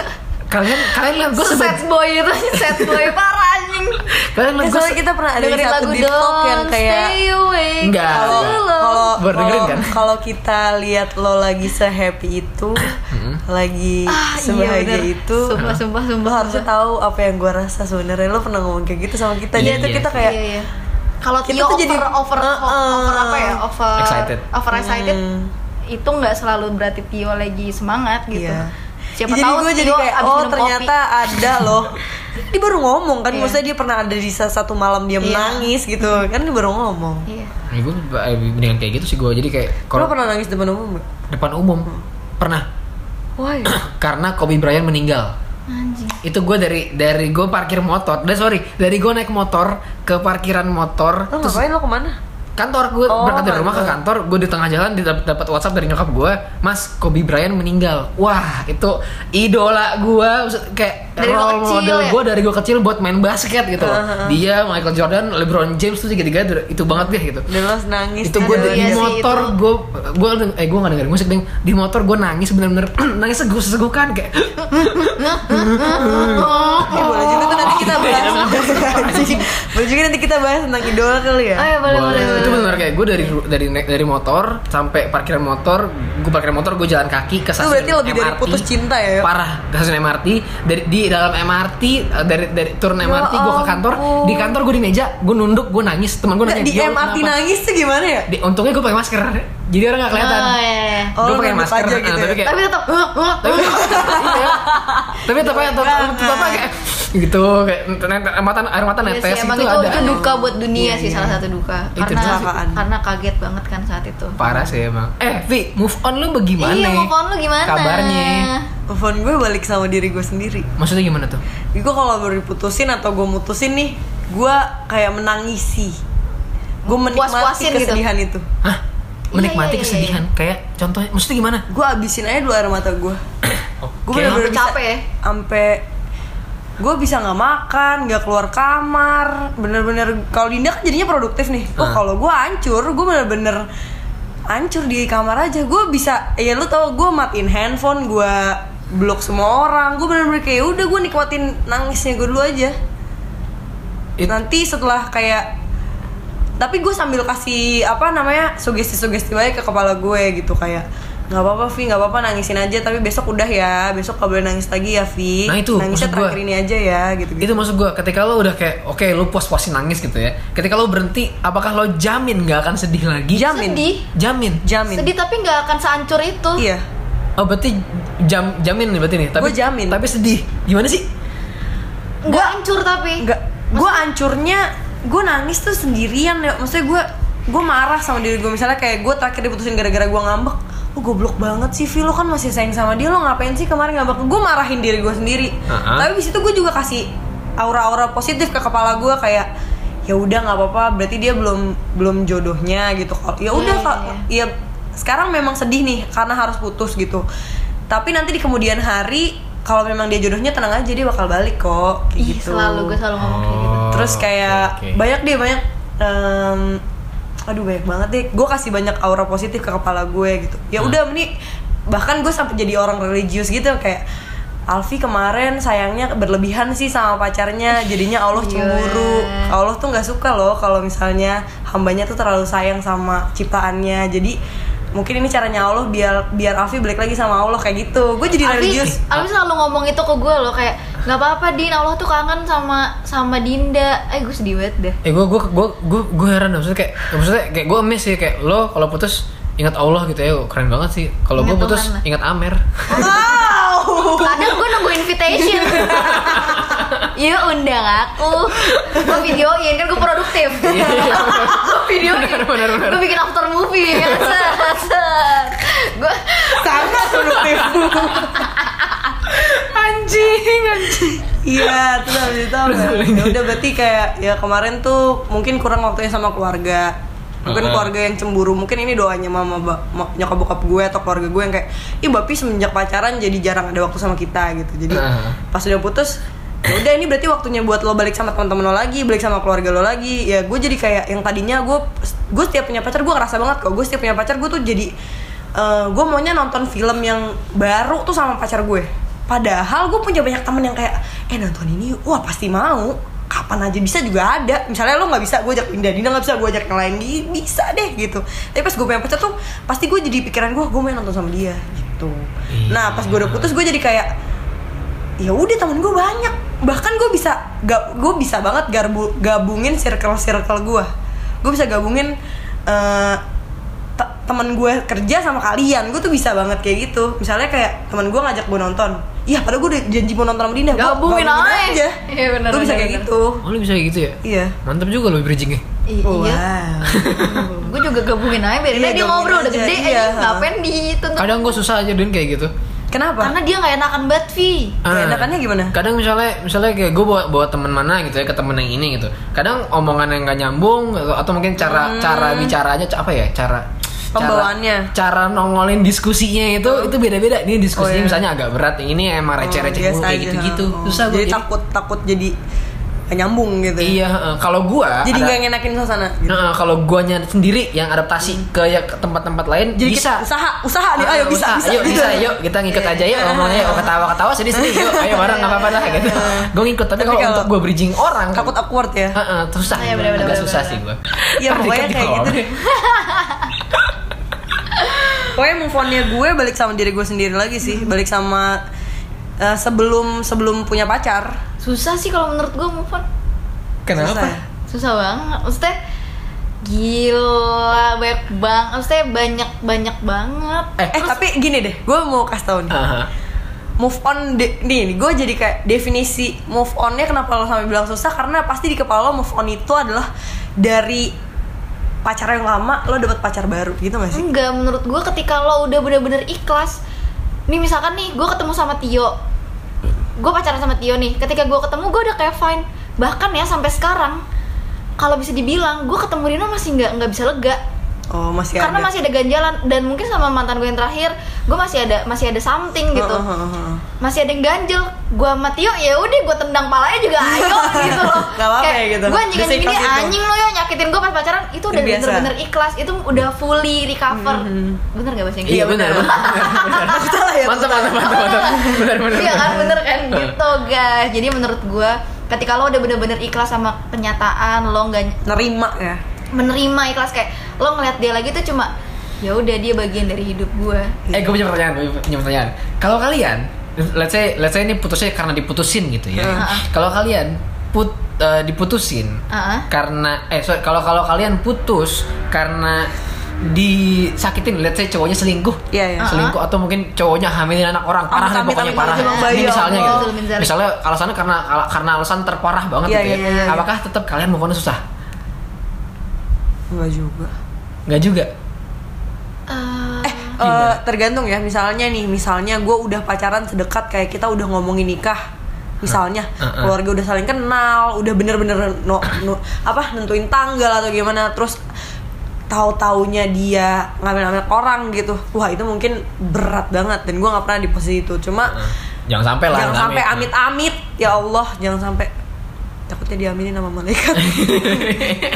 B: kalian kalian lihat gue
C: se- sad boy itu sad boy parah anjing
B: kalian
A: Ya,
B: lihat gue
A: soalnya kita pernah ada
C: dengerin
A: satu
C: lagu
A: di TikTok yang
C: dong
A: kayak
C: stay away
B: Enggak.
A: kalau kalau
B: Baru dengerin
A: kalau-
B: kan?
A: kalau kita lihat lo lagi sehappy itu
B: Mm-hmm.
A: lagi
C: ah iya
A: sebahagia
C: bener
A: itu
C: sumpah sumpah
A: lo
C: sumpah
A: harusnya tahu apa yang gua rasa sebenarnya lo pernah ngomong kayak gitu sama kita
B: Iya,
A: jadi itu
B: iya.
A: kita kayak
C: Iya, iya. Kalau
A: Kita
C: Tio
A: tuh
C: over,
A: jadi-
C: over,
A: Heeh.
C: over apa ya? Over
B: Excited.
C: Over excited.
A: Hmm.
C: Itu nggak selalu berarti Tio lagi semangat gitu.
A: Iya.
C: Siapa
A: jadi
C: tahu
A: gue jadi
C: Tio
A: kayak
C: abis
A: oh
C: minum
A: ternyata ada loh dia baru ngomong kan
C: Iya.
A: maksudnya dia pernah ada di salah satu malam dia
C: Iya.
A: menangis gitu kan dia baru ngomong
C: kopi. Iya.
B: gue mendingan kayak gitu sih gue jadi kayak
A: lo
B: kalau
A: pernah nangis depan umum gak?
B: depan umum pernah
A: Why?
B: karena Kobe Bryant meninggal
C: Anjing.
B: itu gue dari dari gue parkir motor dan sorry dari gue naik motor ke parkiran motor
A: Lo
B: terus
A: Oh, ngapain lo kemana?
B: kantor gue
A: Oh,
B: berangkat dari rumah ke
A: kantor.
B: kantor gue di tengah jalan didap- dapat WhatsApp dari nyokap gue mas Kobe Bryant meninggal wah itu idola gue Maksud- kayak
C: Dari lo
B: role
C: kecil
B: model
C: ya?
B: gue dari gue kecil buat main basket gitu loh dia Michael Jordan LeBron James tuh tiga-tiga itu banget deh gitu
A: Dan lo nangis
B: itu
A: kan?
B: gue di,
C: Aduh, iya
B: di
C: sih,
B: motor
C: itu.
B: gue gue eh gue nggak dengerin musik deng di motor gue nangis bener-bener nangis seguk segukan kayak
A: Eh, boleh
C: Oh, Iya,
A: juga tuh nanti kita bahas Boleh juga nanti kita bahas tentang idola kali ya
C: Oh ya boleh boleh boleh.
B: itu benar kayak gue dari dari naik dari motor sampai parkiran motor, gue parkiran motor gue jalan kaki ke
A: Itu
B: stasiun
A: berarti lebih
B: MRT.
A: dari putus cinta ya, Yop?
B: Parah, ke stasiun MRT dari di dalam MRT eh, dari dari turun
C: Ya
B: MRT gue ke kantor,
C: ampun.
B: di kantor gue di meja, gue nunduk, gue nangis, teman gue nanya
A: Nggak, di
B: "Yo,
A: MRT
B: kenapa?"
A: nangis tuh gimana ya?
B: Di- untungnya gue pakai masker, jadi orang nggak kelihatan.
C: Oh, iya, iya.
A: Oh,
B: gue pakai
A: nunduk
B: masker,
A: aja
B: nah,
A: gitu ya.
B: tapi kayak
C: Tapi oh, tetap
B: tapi iya. tapi tetap aja tetap
A: banget.
B: tetap aja kayak gitu kayak netes- air mata air mata
C: Iya
B: netes
C: sih, emang
B: itu
C: itu,
B: ada
C: itu duka buat
A: Iya,
C: dunia sih salah satu duka
B: Itu
C: karena
A: kecelakaan.
C: karena kaget banget kan saat itu
B: parah sih emang eh Vi move on lu bagaimana
C: iya mau phone lu gimana
B: kabarnya
A: Telepon gue balik sama diri gue sendiri.
B: maksudnya gimana tuh
A: Gue kalau baru diputusin atau gue mutusin nih, gue kayak menangisi. Gue menikmati
C: Puas-puasin gitu.
A: kesedihan itu.
B: hah
C: Iya,
B: menikmati
C: iya, iya,
B: kesedihan kayak contohnya maksudnya gimana
A: Gue abisin aja dulu air mata gue. Gue
B: Oke.
A: bener-bener
C: Sampai
A: bisa-
C: capek ya?
A: Sampai gue bisa nggak makan, nggak keluar kamar, bener-bener kalau Dinda kan jadinya produktif nih. Oh
B: Ah.
A: kalau gue hancur, gue bener-bener hancur di kamar aja. Gue bisa, ya lu tau gue matiin handphone, gue blok semua orang. Gue bener-bener kayak "Ya udah gue nikmatin nangisnya gue dulu aja.
B: It-
A: Nanti setelah kayak tapi gue sambil kasih apa namanya sugesti-sugesti baik ke kepala gue gitu kayak nggak apa-apa Vi nggak apa-apa nangisin aja tapi besok udah ya besok gak boleh nangis lagi ya Vi
B: Nah, itu,
A: nangisnya
B: maksud
A: terakhir
B: gua.
A: ini aja ya gitu gitu
B: itu maksud gue ketika lo udah kayak oke lo puas-puasin nangis gitu ya ketika lo berhenti apakah lo jamin nggak akan sedih lagi
A: jamin
C: sedih
B: jamin
A: jamin
C: sedih tapi nggak akan sehancur itu
A: iya
B: oh berarti jam jamin nih berarti nih tapi
A: Gua jamin.
B: tapi sedih gimana sih
C: nggak hancur tapi
A: nggak gue ancurnya gue nangis tuh sendirian ya maksudnya gue gue marah sama diri gue misalnya kayak gue terakhir diputusin gara-gara gue ngambek lo goblok banget sih Vi lo kan masih sayang sama dia lo ngapain sih kemarin ngambek gue marahin diri gue sendiri
B: Ha-ha.
A: tapi di situ gue juga kasih aura-aura positif ke kepala gue kayak ya udah nggak apa-apa berarti dia belum belum jodohnya gitu Kalau- ya udah
C: Iya,
A: kalau
C: iya,
A: ya sekarang memang sedih nih karena harus putus gitu tapi nanti di kemudian hari kalau memang dia jodohnya tenang aja dia bakal balik kok kayak
C: Ih,
A: gitu Oh.
C: selalu gue selalu ngomong kayak gitu
A: Terus kayak
B: oke, oke.
A: banyak deh banyak em, aduh banyak banget deh. Gue kasih banyak aura positif ke kepala gue gitu. Ya udah ini bahkan gue sampai jadi orang religius gitu kayak Alfi kemarin sayangnya berlebihan sih sama pacarnya, jadinya Allah
C: Iya.
A: cemburu. Allah tuh nggak suka loh kalau misalnya hambanya tuh terlalu sayang sama ciptaannya. Jadi mungkin ini caranya Allah biar biar Alfi balik lagi sama Allah kayak gitu. Gue jadi
C: Alfi,
A: religius.
C: Alfi selalu ngomong itu ke gue loh kayak nggak apa-apa Din, Allah tuh kangen sama sama Dinda. Eh gue sedih banget deh.
B: eh gue gue gue gue gue heran maksudnya kayak maksudnya kayak gue emes sih kayak lo kalau putus ingat Allah gitu ya keren banget sih kalau gue
C: Ingat
B: putus
C: Tuhan lah.
B: ingat Amer
C: Kadang gue nunggu invitation. Yuk undang aku. Gue videoin kan gue produktif. gue videoin.
B: Iya. Benar, benar, benar.
C: Gue bikin after movie. Ya, set, set. Gue
A: sangat produktif anjing anjing iya terus habis itu apa ya? Ya udah berarti kayak ya kemarin tuh mungkin kurang waktunya sama keluarga mungkin
B: Heeh.
A: keluarga yang cemburu mungkin ini doanya mama ba- ma- nyokap bokap gue atau keluarga gue yang kayak ih bapi semenjak pacaran jadi jarang ada waktu sama kita gitu jadi
B: Heeh.
A: pas udah putus ya udah ini berarti waktunya buat lo balik sama teman-teman lo lagi balik sama keluarga lo lagi ya gue jadi kayak yang tadinya gue gue setiap punya pacar gue ngerasa banget kok gue setiap punya pacar gue tuh jadi eh, gue maunya nonton film yang baru tuh sama pacar gue padahal gue punya banyak temen yang kayak eh nonton ini yuk." wah pasti mau kapan aja bisa juga ada misalnya lo nggak bisa gue ajak Dinda Dinda nggak bisa gue ajak yang lain Di- bisa deh gitu tapi pas gue punya pacar tuh pasti gue jadi pikiran gue gue main nonton sama dia gitu nah pas gue udah putus gue jadi kayak ya udah temen gue banyak bahkan gue bisa ga, gue bisa banget garbu, gabungin circle circle gue gue bisa gabungin eh, te- temen gue kerja sama kalian gue tuh bisa banget kayak gitu misalnya kayak temen gue ngajak gue nonton iya padahal gue udah janji mau nonton sama Dinda Gua
C: Gabungin aja. Iya, bener,
A: gue bisa
C: bener,
A: kayak
C: bener.
A: gitu
B: oh lo bisa kayak gitu ya
A: iya
B: mantap juga lo bridgingnya
C: I- iya. Gue juga gabungin aja biarin
A: Iya,
C: aja dia
A: gabungin
C: ngobrol udah
A: aja.
C: gede
A: Iya.
C: aja ngapain dituntut.
B: kadang gue susah aja Din kayak gitu
A: kenapa
C: Karena dia nggak enakan banget Vi.
B: Ah.
A: Keenakannya gimana?
B: kadang misalnya misalnya kayak gue bawa bawa teman mana gitu ya ke temen yang ini gitu kadang omongan yang gak nyambung atau atau mungkin cara cara bicaranya ca- apa ya cara cara-
A: Hmm. Pembawaannya.
B: cara, nongolin diskusinya itu itu beda-beda ini
A: Oh,
B: diskusinya
A: iya.
B: misalnya agak berat yang ini
A: Oh,
B: emang receh-receh
A: biasa
B: mulu kayak
A: aja.
B: gitu-gitu
A: Oh.
B: susah gue
A: jadi takut takut jadi gak nyambung gitu
B: Iya, heeh. kalau gua
A: jadi
B: ada-
A: nggak ngenakin suasana gitu.
B: Nah, kalau guanya sendiri yang adaptasi ke ya- ke tempat-tempat lain
A: Hmm. jadi
B: bisa. Ah,
A: kita usaha usaha nih ayo bisa
B: Usaha.
A: bisa
B: yuk,
A: gitu.
B: bisa, yuk kita ngikut aja yuk ngomongnya yuk ketawa-ketawa sedih-sedih yuk ayo bareng nggak apa-apa lah gitu gue ngikut
A: Iya. Tapi
B: tapi, kalau
A: kalau-
B: untuk gue bridging orang
A: takut awkward ya
B: Heeh, susah
C: Iya,
B: gua.
C: bener-bener,
B: agak susah sih
C: bener-bener.
B: gue
A: Iya, pokoknya kayak gitu deh. Pokoknya move on-nya gue balik sama diri gue sendiri lagi sih,
B: Hmm.
A: balik sama eh, sebelum sebelum punya pacar.
C: susah sih kalau menurut gue move on
B: kenapa
A: Susah ya?
C: susah banget maksudnya gila banyak banget maksudnya banyak banyak banget
B: eh Ah.
A: Eh tapi gini deh, gue mau kasih tau nih.
B: aha.
A: Move on de- nih, nih, gue jadi kayak definisi move on-nya kenapa lo sampai bilang susah karena pasti di kepala lo move on itu adalah dari pacar yang lama lo dapet pacar baru gitu gak sih?
C: enggak menurut gue ketika lo udah bener-bener ikhlas nih misalkan nih gue ketemu sama Tio gue pacaran sama Tio nih ketika gue ketemu gue udah kayak fine bahkan ya sampai sekarang kalau bisa dibilang gue ketemu Dino masih nggak nggak bisa lega
B: Hmm.
A: Oh, masih
C: karena
A: ada.
C: masih ada ganjalan dan mungkin sama mantan gue yang terakhir gue masih ada masih ada something gitu
A: Heeh, heeh, heeh.
C: masih ada yang ganjel gue sama Tio ya udah gue tendang palanya juga ayo gitu loh
A: Gak apa-apa ya gitu.
C: gue anjing anjing ini
A: Besitos itu.
C: anjing lo yo nyakitin gue pas pacaran itu udah
A: Biasa.
C: bener-bener ikhlas itu udah fully recover
A: Mhm.
C: bener gak bahasa Inggris?
B: iya benar benar benar.
A: Aku salah ya.
B: mantap mantap mantap mantap benar benar
C: iya kan
B: benar.
C: bener kan gitu guys jadi menurut gue ketika lo udah bener-bener ikhlas sama kenyataan lo nggak
A: Nerima ya.
C: menerima ikhlas kayak lo ngeliat dia lagi tuh cuma ya udah dia bagian dari hidup gue
B: eh gue punya pertanyaan gue punya pertanyaan kalau kalian let's say let's say ini putusnya karena diputusin gitu ya
A: Heeh.
B: kalau kalian put eh, diputusin
C: Heeh.
B: karena eh sorry kalau kalau kalian putus karena disakitin let's say cowoknya selingkuh
A: Iya, iya.
C: Ah.
B: selingkuh atau mungkin cowoknya hamilin anak orang parah nih
A: Amit-amit,
B: pokoknya
A: amit-amit
B: parah
A: emang bayi,
B: ini misalnya
A: ya
B: gitu
A: Allah.
B: misalnya alasannya karena karena alasan terparah banget
A: Iya,
B: gitu ya
A: iya, iya, iya.
B: apakah tetap kalian mau on susah
A: Enggak juga.
B: nggak juga
C: Eh,
A: Eh, tergantung ya misalnya nih misalnya gue udah pacaran sedekat kayak kita udah ngomongin nikah misalnya
B: Heeh.
A: keluarga udah saling kenal udah bener-bener no, no- apa nentuin tanggal atau gimana terus tahu taunya dia ngambil-ngambil orang gitu wah itu mungkin berat banget dan gue nggak pernah di posisi itu
B: Ah,
A: cuma
B: jangan sampai lah
A: jangan sampai
B: amit.
A: amit-amit ya Allah jangan sampai takutnya diaminin sama malaikat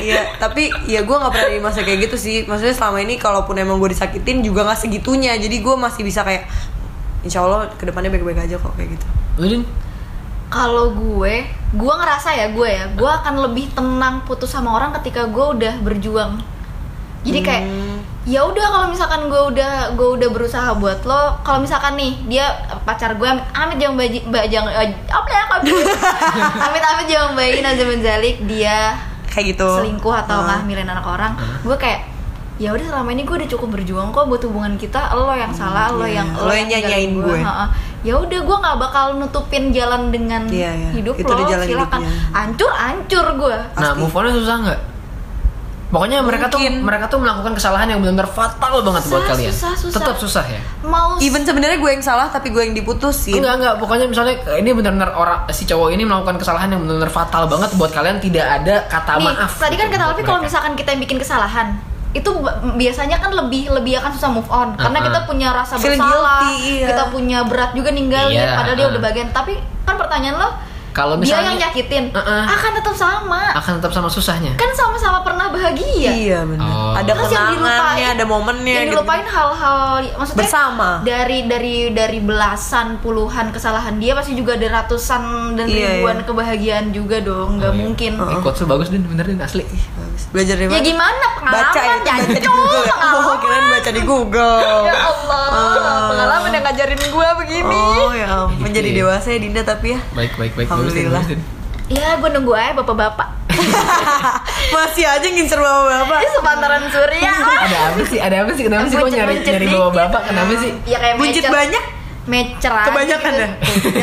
A: Iya, tapi ya gue nggak pernah di masa kayak gitu sih. Maksudnya selama ini kalaupun emang gue disakitin juga nggak segitunya. Jadi gue masih bisa kayak, insya Allah kedepannya baik-baik aja kok kayak gitu.
B: Lu, Din? Nah,
C: kalau gue gue ngerasa ya gue ya gue akan lebih tenang putus sama orang ketika gue udah berjuang jadi kayak ya udah kalau misalkan gue udah gue udah berusaha buat lo kalau misalkan nih dia pacar gue amit jangan baji ba- jangan eh, apa ya kalau amit amit jangan bayi Nazim Zalik dia
A: Kayak gitu.
C: selingkuh atau
A: Heeh.
C: ngambilin anak orang gue kayak ya udah selama ini gue udah cukup berjuang kok buat hubungan kita lo yang salah lo
A: iya.
C: yang
A: Lo yang nyanyain
C: ninggalin
A: gue.
C: Heeh. ya udah gue nggak bakal nutupin jalan dengan
A: Iya, iya.
C: hidup
A: Itu
C: lo
A: udah jalan
C: silakan
A: hidupnya.
C: hancur hancur gue
A: Pasti.
B: nah move on susah nggak pokoknya mereka tuh
A: Mungkin.
B: mereka tuh melakukan kesalahan yang benar-benar fatal banget buat
C: Susah,
B: kalian
C: susah, susah.
B: tetap susah ya
C: mau
A: Even sebenarnya gue yang salah tapi gue yang
C: Iya.
A: diputusin.
B: Enggak enggak, pokoknya misalnya eh, ini benar-benar orang si cowok ini melakukan kesalahan yang benar-benar fatal banget buat kalian tidak ada kata
C: nih
B: maaf.
C: tadi kan
B: gitu
C: kata
B: buat
C: Alfi kalau
B: mereka.
C: misalkan kita yang bikin kesalahan itu b- biasanya kan lebih lebih akan susah move on karena
B: Uh-uh.
C: kita punya rasa
A: Feeling
C: bersalah
A: guilty, iya.
C: kita punya berat juga ninggalin
B: Iya,
C: padahal dia
B: uh-uh.
C: udah bagian tapi kan pertanyaan lo
B: Kalau
C: dia
B: misalnya-
C: yang nyakitin
B: Uh-uh.
C: akan tetap sama
B: akan tetap sama susahnya.
C: kan sama-sama pernah bahagia
A: Iya benar.
B: Oh.
A: Ada
C: Terus yang
A: kenangannya,
C: dilupain-
A: ada momennya.
C: yang
A: gitu.
C: dilupain hal-hal maksudnya
A: Bersama.
C: dari dari dari belasan puluhan kesalahan dia pasti juga ada ratusan dan
A: Iya, iya.
C: ribuan kebahagiaan juga dong nggak
B: Oh, iya.
C: mungkin
B: Eh, quotes tuh bagus din, bener din asli.
A: Bagus. Belajar dari
C: ya
A: mana?
C: gimana
A: Baca ya,
C: pengalaman
A: baca di
C: jancok,
A: Google. ya. Oh,
C: pengalaman
A: kirain baca di Google.
C: ya Allah
A: Ah.
C: pengalaman yang ngajarin gua begini
A: Oh ya, ampun. menjadi
B: Iya.
A: dewasa ya Dinda tapi ya
B: Baik baik baik bagus din.
A: Alhamdulillah.
B: bagus, Din.
C: ya gua nunggu aja bapak-bapak
A: masih aja ngincer bapak-bapak.
C: ini sepantaran surya
B: Ada apa sih? Ada apa sih? Kenapa sih kok nyari
C: Buncit-buncit
B: nyari bawa
C: dikit.
B: bapak? Kenapa sih? ya?
C: ya kayak
A: Buncit
C: mecer-
A: banyak,
C: mecer aja
A: kebanyakan
C: gitu. ya,
A: dah.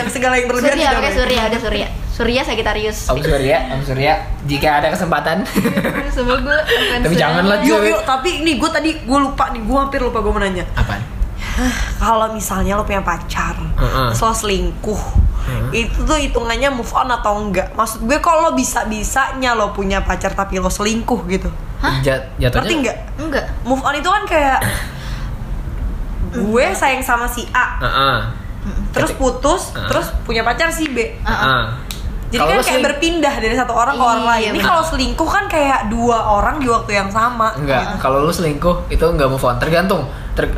A: Yang segala yang berlebihan
C: Surya,
A: sudah
C: pakai
A: banyak.
C: Surya, ada Surya. Surya Sagittarius.
B: Om Surya, Om Surya, jika ada kesempatan.
C: Sama gue. bukan
B: Tapi
C: Surya.
B: janganlah.
A: Yuk yuk, tapi ini gue tadi gue lupa nih, gue hampir lupa gue mau nanya.
B: Apaan?
A: Kalau misalnya lo punya pacar,
B: Heeh.
A: terus lo selingkuh, itu tuh hitungannya move on atau enggak? Maksud gue kalau lo bisa bisanya lo punya pacar tapi lo selingkuh gitu,
B: Jat-
A: ngerti
B: jatuhnya.
A: nggak?
C: Enggak.
A: Move on itu kan kayak gue sayang sama si A,
B: Heeh.
A: terus putus,
B: Heeh.
A: terus punya pacar si B.
B: Heeh.
A: Jadi
B: Kalau
A: kan
B: lu
A: kayak
B: seling-
A: berpindah dari satu orang ke orang
C: Iya,
A: lain. Ini
C: bener.
A: kalau selingkuh kan kayak dua orang di waktu yang sama.
B: Enggak, kalau lu selingkuh itu enggak move on. Tergantung. Ter,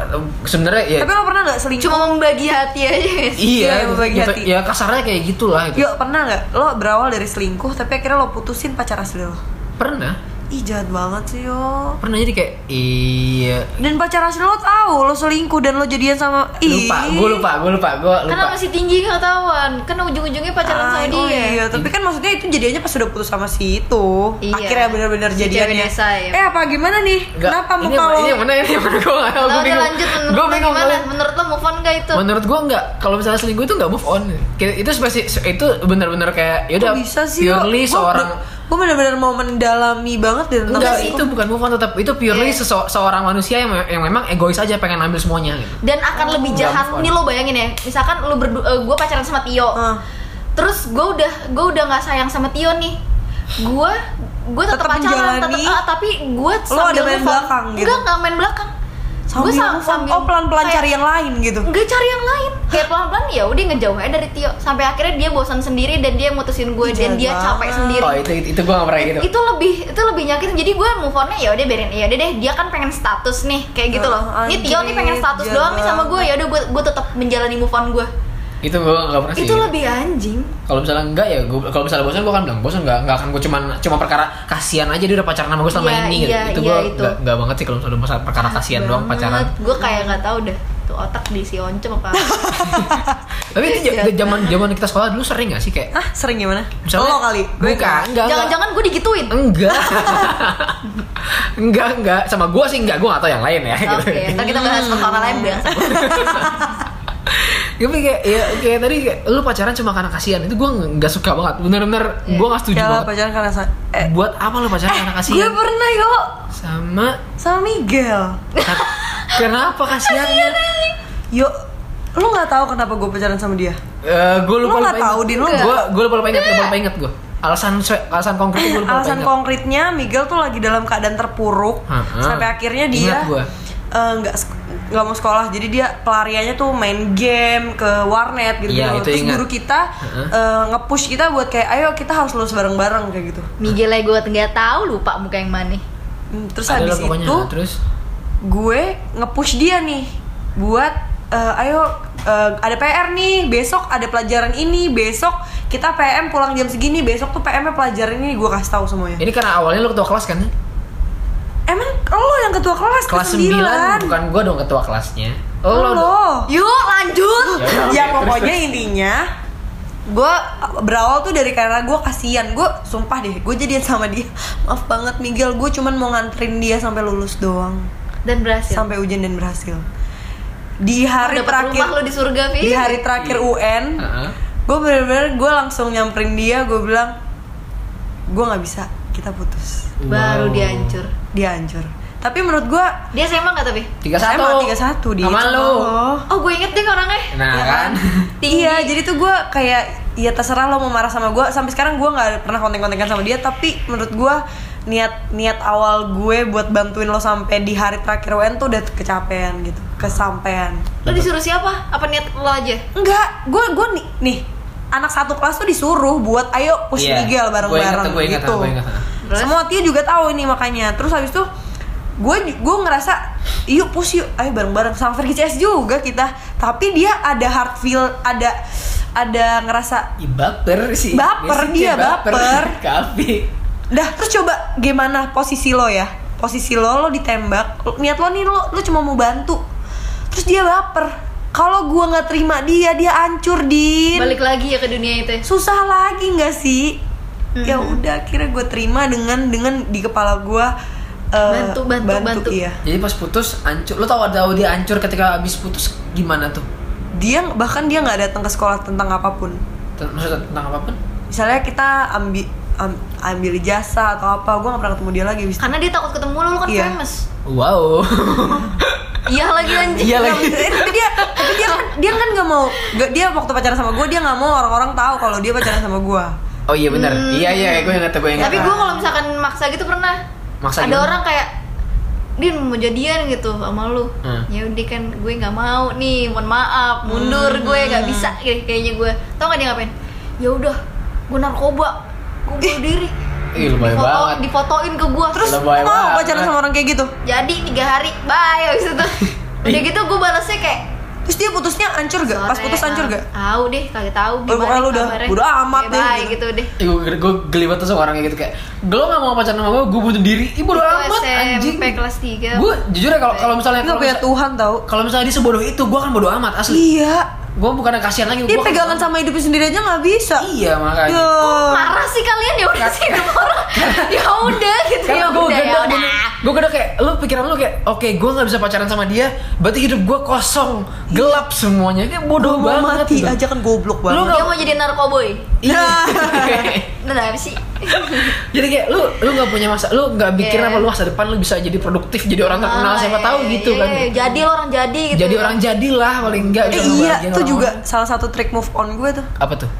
B: sebenarnya ya
A: Tapi lo pernah nggak selingkuh?
C: Cuma membagi hati aja ya. guys.
A: iya,
B: iya,
A: berbagi
B: gitu.
A: hati.
B: ya kasarnya kayak gitulah gitu. itu.
A: Yuk pernah nggak lo berawal dari selingkuh tapi akhirnya lo putusin pacar asli lo?
B: Pernah,
A: Ih jahat banget sih yo.
B: pernah jadi kayak iya
A: Dan pacar asli lo tahu lo selingkuh dan lo jadian sama Ih.
B: lupa, gue lupa, gue lupa, gue lupa.
C: Karena masih tinggi ketahuan. Kan ujung-ujungnya pacaran
A: Ah,
C: sama
A: oh
C: dia.
A: iya, tapi kan maksudnya itu jadiannya pas udah putus sama si itu.
C: Iya.
A: Akhirnya benar-benar
C: Si
A: jadiannya.
C: cewek desa, ya.
A: Eh apa gimana nih?
B: Enggak,
A: Kenapa
B: ini
A: muka
B: yang-
A: lo?
B: Ini yang mana ini yang mana gue nggak tahu, gue
C: Lalu dia
B: bingung.
C: lanjut menurut
B: Gue
C: lo
B: bingung.
C: gimana? Menurut lo move on gak itu?
B: Menurut gue enggak, kalau misalnya selingkuh itu enggak move on. Kayak itu pasti itu benar-benar kayak ya udah
A: Kok bisa sih
B: purely seorang
A: gue benar-benar mau mendalami banget deh tentang
B: Enggak,
A: selingkuh.
B: itu bukan move on tetap itu purely
C: Iya.
B: sese- seorang manusia yang, me- yang memang egois aja pengen ambil semuanya gitu.
C: dan akan lebih
B: Nggak
C: jahat
B: move on.
C: nih lo bayangin ya misalkan lo berdua gue pacaran sama Tio
A: Ah.
C: terus gue udah gue udah nggak sayang sama Tio nih gue gue tetap
A: Tetap
C: pacaran tetap
A: menjalani.
C: ah, tapi gue
A: Lo ada main belakang gitu?
C: enggak nggak main belakang
A: sambil,
C: Gua sam-
A: move on. oh pelan-pelan
C: kayak-
A: cari yang lain gitu.
C: nggak cari yang lain kayak pelan-pelan ya udah ngejauh aja dari Tio sampai akhirnya dia bosan sendiri dan dia mutusin gue
A: Ih,
C: dan
A: jahat
C: dia capek
A: banget.
C: sendiri
B: Oh, itu itu, itu gue enggak pernah gitu.
C: itu lebih itu lebih nyakitin jadi gue move onnya ya udah biarin ya udah deh dia kan pengen status nih kayak gitu
A: Oh,
C: loh ini Tio nih
A: anjir,
C: pengen status
A: jahat
C: doang nih sama gue ya udah gue gue tetap menjalani move on gue
B: Itu gue enggak pernah sih.
C: itu lebih anjing
B: Kalau misalnya enggak ya, gua, kalau misalnya bosan gue kan bilang bosan enggak, enggak akan gue cuman cuma perkara kasihan aja dia udah pacaran sama gue selama
C: Iya,
B: ini
C: iya,
B: gitu. Itu
C: iya,
B: gue
C: itu.
B: enggak, enggak banget sih kalau misalnya masalah perkara kasihan doang pacaran.
C: gue kayak nggak tahu dah tuh otak diisi oncem apa
B: Tapi itu
C: Iya.
B: j- zaman zaman kita sekolah dulu sering gak sih kayak
A: Ah, sering gimana?
B: misalnya-
A: lo
B: kan
A: kali. Gue
B: Bukan, enggak. enggak.
C: jangan-jangan gue digituin
B: Enggak. enggak, enggak. Sama gua sih enggak, gua gak tau yang lain ya.
C: oke
B: gitu.
C: ntar kita bahas perkara lain bilang
B: Tapi kayak, ya, kayak tadi kayak, lu pacaran cuma karena kasihan. Itu gua enggak suka banget. Bener-bener gua gak setuju
A: Ya lah,
B: banget.
A: pacaran Eh, karena sa- eh,
B: Buat apa lu pacaran karena
A: gue
B: kasihan?
A: pernah yo
B: Sama
A: sama Miguel.
B: ka- kenapa kasihannya?
A: Yo, lo nggak tahu kenapa gue pacaran sama dia?
B: Eh, gua
A: Lu
B: lupa lupa
A: nggak tahu, Din, lu nggak-
B: Gua gua lupa lupa ingat, lupa lupa ingat gua. Alasan se- alasan konkret gua lupa lupa
A: Alasan
B: ingat.
A: konkretnya Miguel tuh lagi dalam keadaan terpuruk
B: Ha-ha.
A: sampai akhirnya dia
B: Ingat gua.
A: eh, nggak sek- nggak mau sekolah jadi dia pelariannya tuh main game ke warnet gitu
B: Iya, itu
A: terus
B: ingat.
A: guru kita
B: Ha-ha.
A: eh, nge-push kita buat kayak ayo kita harus lulus bareng-bareng kayak gitu
C: Miguel gue nggak tahu lupa muka yang mana
A: Hmm, terus
B: Ada lah
A: habis
B: pokoknya.
A: itu
B: Terus
A: gue nge-push dia nih buat eh, ayo eh, ada PR nih besok ada pelajaran ini besok kita PM pulang jam segini besok tuh PM-nya pelajaran ini gue kasih tahu semuanya
B: ini karena awalnya lu ketua kelas kan?
A: emang lo yang ketua kelas
B: Kelas 9 bukan gua dong ketua kelasnya.
A: Oh,
B: Lu dong.
C: yuk lanjut
B: Ya udah,
A: ya
B: oke,
A: pokoknya intinya gue berawal tuh dari karena gue kasihan gue sumpah deh gue jadian sama dia maaf banget Miguel gue cuman mau nganterin dia sampai lulus doang
C: dan berhasil
A: sampai ujian dan berhasil di hari
C: dapat
A: terakhir
C: rumah lo di surga Vi
A: di hari terakhir
B: Iya.
A: UN
B: Heeh.
A: gue bener-bener gue langsung nyamperin dia gue bilang gue nggak bisa kita putus
B: Wow.
C: baru dihancur
A: dia hancur tapi menurut gue
C: dia SMA nggak tapi
B: tiga satu
A: SMA 31 dia
B: sama lu
C: oh gue inget deh orangnya
B: nah
A: Ya
B: kan
A: kan? Iya, jadi tuh gue kayak ya terserah lo mau marah sama gue. Sampai sekarang gue nggak pernah konten-kontenkan sama dia. Tapi menurut gue niat niat awal gue buat bantuin lo sampai di hari terakhir UN tuh udah kecapean gitu, kesampean.
C: lo disuruh siapa apa niat lo aja
A: Enggak, gue gue nih, nih anak satu kelas tuh disuruh buat ayo push
B: Iya.
A: Miguel bareng-bareng
B: Gua ingat,
A: gitu.
B: gua ingat, gua ingat.
C: Terus?
A: Semua Tia juga tahu ini makanya. Terus habis itu gue gue ngerasa yuk push yuk ayo bareng-bareng sama Fergie CS juga kita. Tapi dia ada hard feel, ada ada ngerasa
B: Ih, baper sih
A: Baper,
B: sih
A: dia
B: kayak
A: baper.
B: Kapi.
A: dah terus coba gimana posisi lo ya posisi lo lo ditembak lo- niat lo nih lo lo cuma mau bantu terus dia baper kalau gua nggak terima dia dia hancur din
C: balik lagi ya ke dunia itu ya?
A: susah lagi nggak sih ya udah akhirnya gue terima dengan dengan di kepala gua eh,
C: Bantu, bantu, bantu.
A: iya
B: jadi pas putus hancur lo tau tahu dia hancur ketika habis putus gimana tuh
A: dia bahkan dia nggak datang ke sekolah tentang apapun
B: Ten- maksudnya tentang apapun
A: misalnya kita ambil ambil jasa atau apa gua nggak pernah ketemu dia lagi abis itu.
C: karena dia takut ketemu lo lo kan
A: Iya.
C: famous
B: wow
C: iya lagi anjing
B: iya lagi
A: Eh, tapi dia tapi dia kan dia kan nggak mau nggak- dia waktu pacaran sama gue dia nggak mau orang-orang tahu kalau dia pacaran sama gue
B: oh iya benar
A: Hmm.
B: iya iya gue ingat gue ingat
C: tapi gue kalau misalkan maksa gitu pernah
B: Maksa
C: ada
B: gimana?
C: orang kayak Din mau jadian gitu sama lu
B: Hmm.
C: ya udah kan gue nggak mau
B: Hmm.
C: nih mohon maaf mundur gue nggak bisa Kayak- kayaknya gue tau gak dia ngapain ya udah gue narkoba gue bunuh diri
B: Ih, lebay
C: Difoto-
B: banget.
C: difotoin ke gue terus
A: Terus
B: Lebay
A: lu mau
B: banget.
A: pacaran sama orang kayak gitu?
C: jadi tiga hari bye abis itu udah gitu gue balasnya kayak
A: Terus dia putusnya hancur gak? Pas
C: sore,
A: putus hancur
C: ah,
A: gak?
C: tahu deh kagak tahu
A: Eh, pokoknya lu udah- udah amat
C: Bye,
A: deh,
C: bye,
A: gitu.
C: gitu deh
B: Ih, gue, gue geli banget tuh sama orang kayak gitu kayak Lo gak mau pacaran sama gue, gue bunuh diri Ih bodo
C: Itu
B: amat
C: SMP
B: anjing
C: kelas tiga.
B: Gue jujur ya kalau kalau misalnya
A: Enggak
B: kalau
A: punya
B: misalnya,
A: Tuhan tau
B: kalau misalnya dia sebodoh itu, gue akan bodo amat asli
A: Iya
B: Gue bukan kasihan lagi
A: Dia
B: gua akan-
A: pegangan sama hidupnya sendiri aja gak bisa
B: Iya makanya
A: Ya.
C: marah sih kalian ya udah sih hidup orang ya udah gitu ya
B: Karena gue
C: udah ya
B: gede
C: udah
B: Gue gede kayak Lu pikiran lu kayak Oke gue gak bisa pacaran sama dia Berarti hidup gue kosong Gelap semuanya Kayak bodoh
A: Gua mau
B: banget
A: mati
B: gitu.
A: aja kan goblok
B: Lu
A: banget
B: gak-
C: dia mau jadi narkoboy
B: Iya
C: Nah, apa sih?
B: Jadi kayak lu lu gak punya masa Lu gak bikin
C: Iya.
B: apa Lu masa depan lu bisa jadi produktif Jadi orang terkenal
C: Ah,
B: Siapa tahu
C: iya,
B: gitu
C: iya,
B: kan
C: iya. Jadi lo orang jadi gitu.
B: Jadi orang jadilah Paling enggak
A: Eh, iya, itu juga salah satu trik move on gue tuh
B: Apa tuh?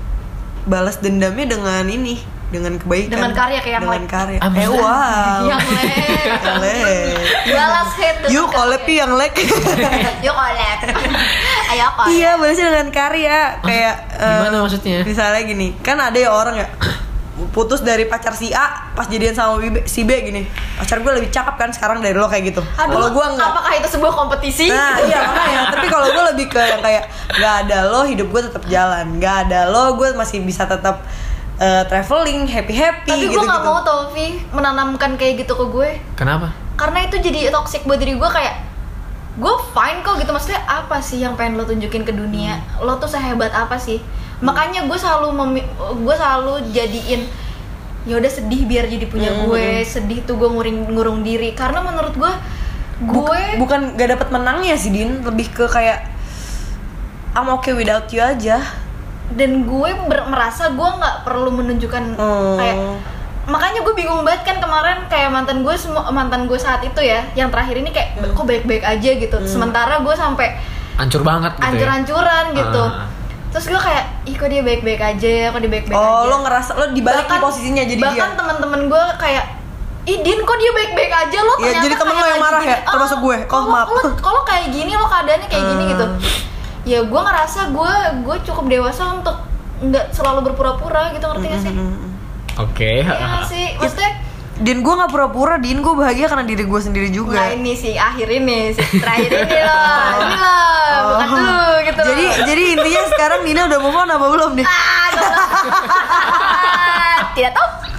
A: balas dendamnya dengan ini, dengan kebaikan.
C: Dengan karya kayak yang
A: dengan
C: like.
A: karya. eh
B: Ah, maksudnya?
A: wow.
C: yang lek.
A: Yang like.
C: Balas hate dengan
A: Yuk collab
C: karya.
A: yang like.
C: Yuk collab. Ayo collab.
A: iya, balasnya dengan karya kayak eh,
B: Ah, Gimana maksudnya?
A: Misalnya gini, kan ada ya orang ya putus dari pacar si A pas jadian sama B- si B gini. Pacar gue lebih cakep kan sekarang dari lo kayak gitu.
C: Aduh,
A: Kalau gue enggak.
C: Apakah itu sebuah kompetisi?
A: Nah iya makanya Tapi kalau gue lebih ke yang kayak Gak ada lo hidup gue tetap jalan Gak ada lo gue masih bisa tetap eh, traveling happy-happy
C: Tapi gue
A: gitu,
C: gak mau Tommy menanamkan kayak gitu ke gue
B: Kenapa?
C: Karena itu jadi toxic buat diri gue kayak Gue fine kok gitu Maksudnya apa sih yang pengen lo tunjukin ke dunia Lo tuh sehebat apa sih Makanya gue selalu memi- gue selalu jadiin ya udah sedih biar jadi punya gue sedih tuh gue ngurung ngurung diri karena menurut gue gue
A: Bukan gak dapet menangnya sih Din Lebih ke kayak I'm okay without you aja
C: dan gue ber- merasa gue nggak perlu menunjukkan
A: Oh.
C: kayak makanya gue bingung banget kan kemarin kayak mantan gue semua mantan gue saat itu ya yang terakhir ini kayak kok baik-baik aja gitu sementara gue sampai
B: Hancur banget gitu ya
C: ancur-ancuran gitu
B: Ah.
C: terus gue kayak ih kok dia baik-baik aja ya kok dia baik-baik aja
A: Oh lo ngerasa lo dibalik nih posisinya jadi
C: bahkan
A: dia
C: teman-teman gue kayak Ih Din kok dia baik-baik aja lo
A: Iya,
C: ternyata
A: jadi temen
C: kayak
A: lo yang
C: lagi
A: marah ya?
C: gini. Ah,
A: Termasuk gue. Oh,
C: kalau-
A: maaf. Ah.
C: kalau- Kalau kayak gini lo keadaannya kayak gini gitu Ya gue ngerasa gue gue cukup dewasa untuk nggak selalu berpura-pura gitu ngerti gak sih?
A: Mm-hmm.
B: Oke
C: Iya nggak sih? Maksudnya
A: Din gue gak pura-pura Din gue bahagia karena diri gue ya." sendiri juga
C: Nah ini sih akhir ini sih terakhir ini loh ini loh bukan
A: Oh.
C: dulu gitu loh.
A: Jadi jadi intinya sekarang Nina udah move on apa belum nih?
C: Ah, goblok. Ah, tidak tahu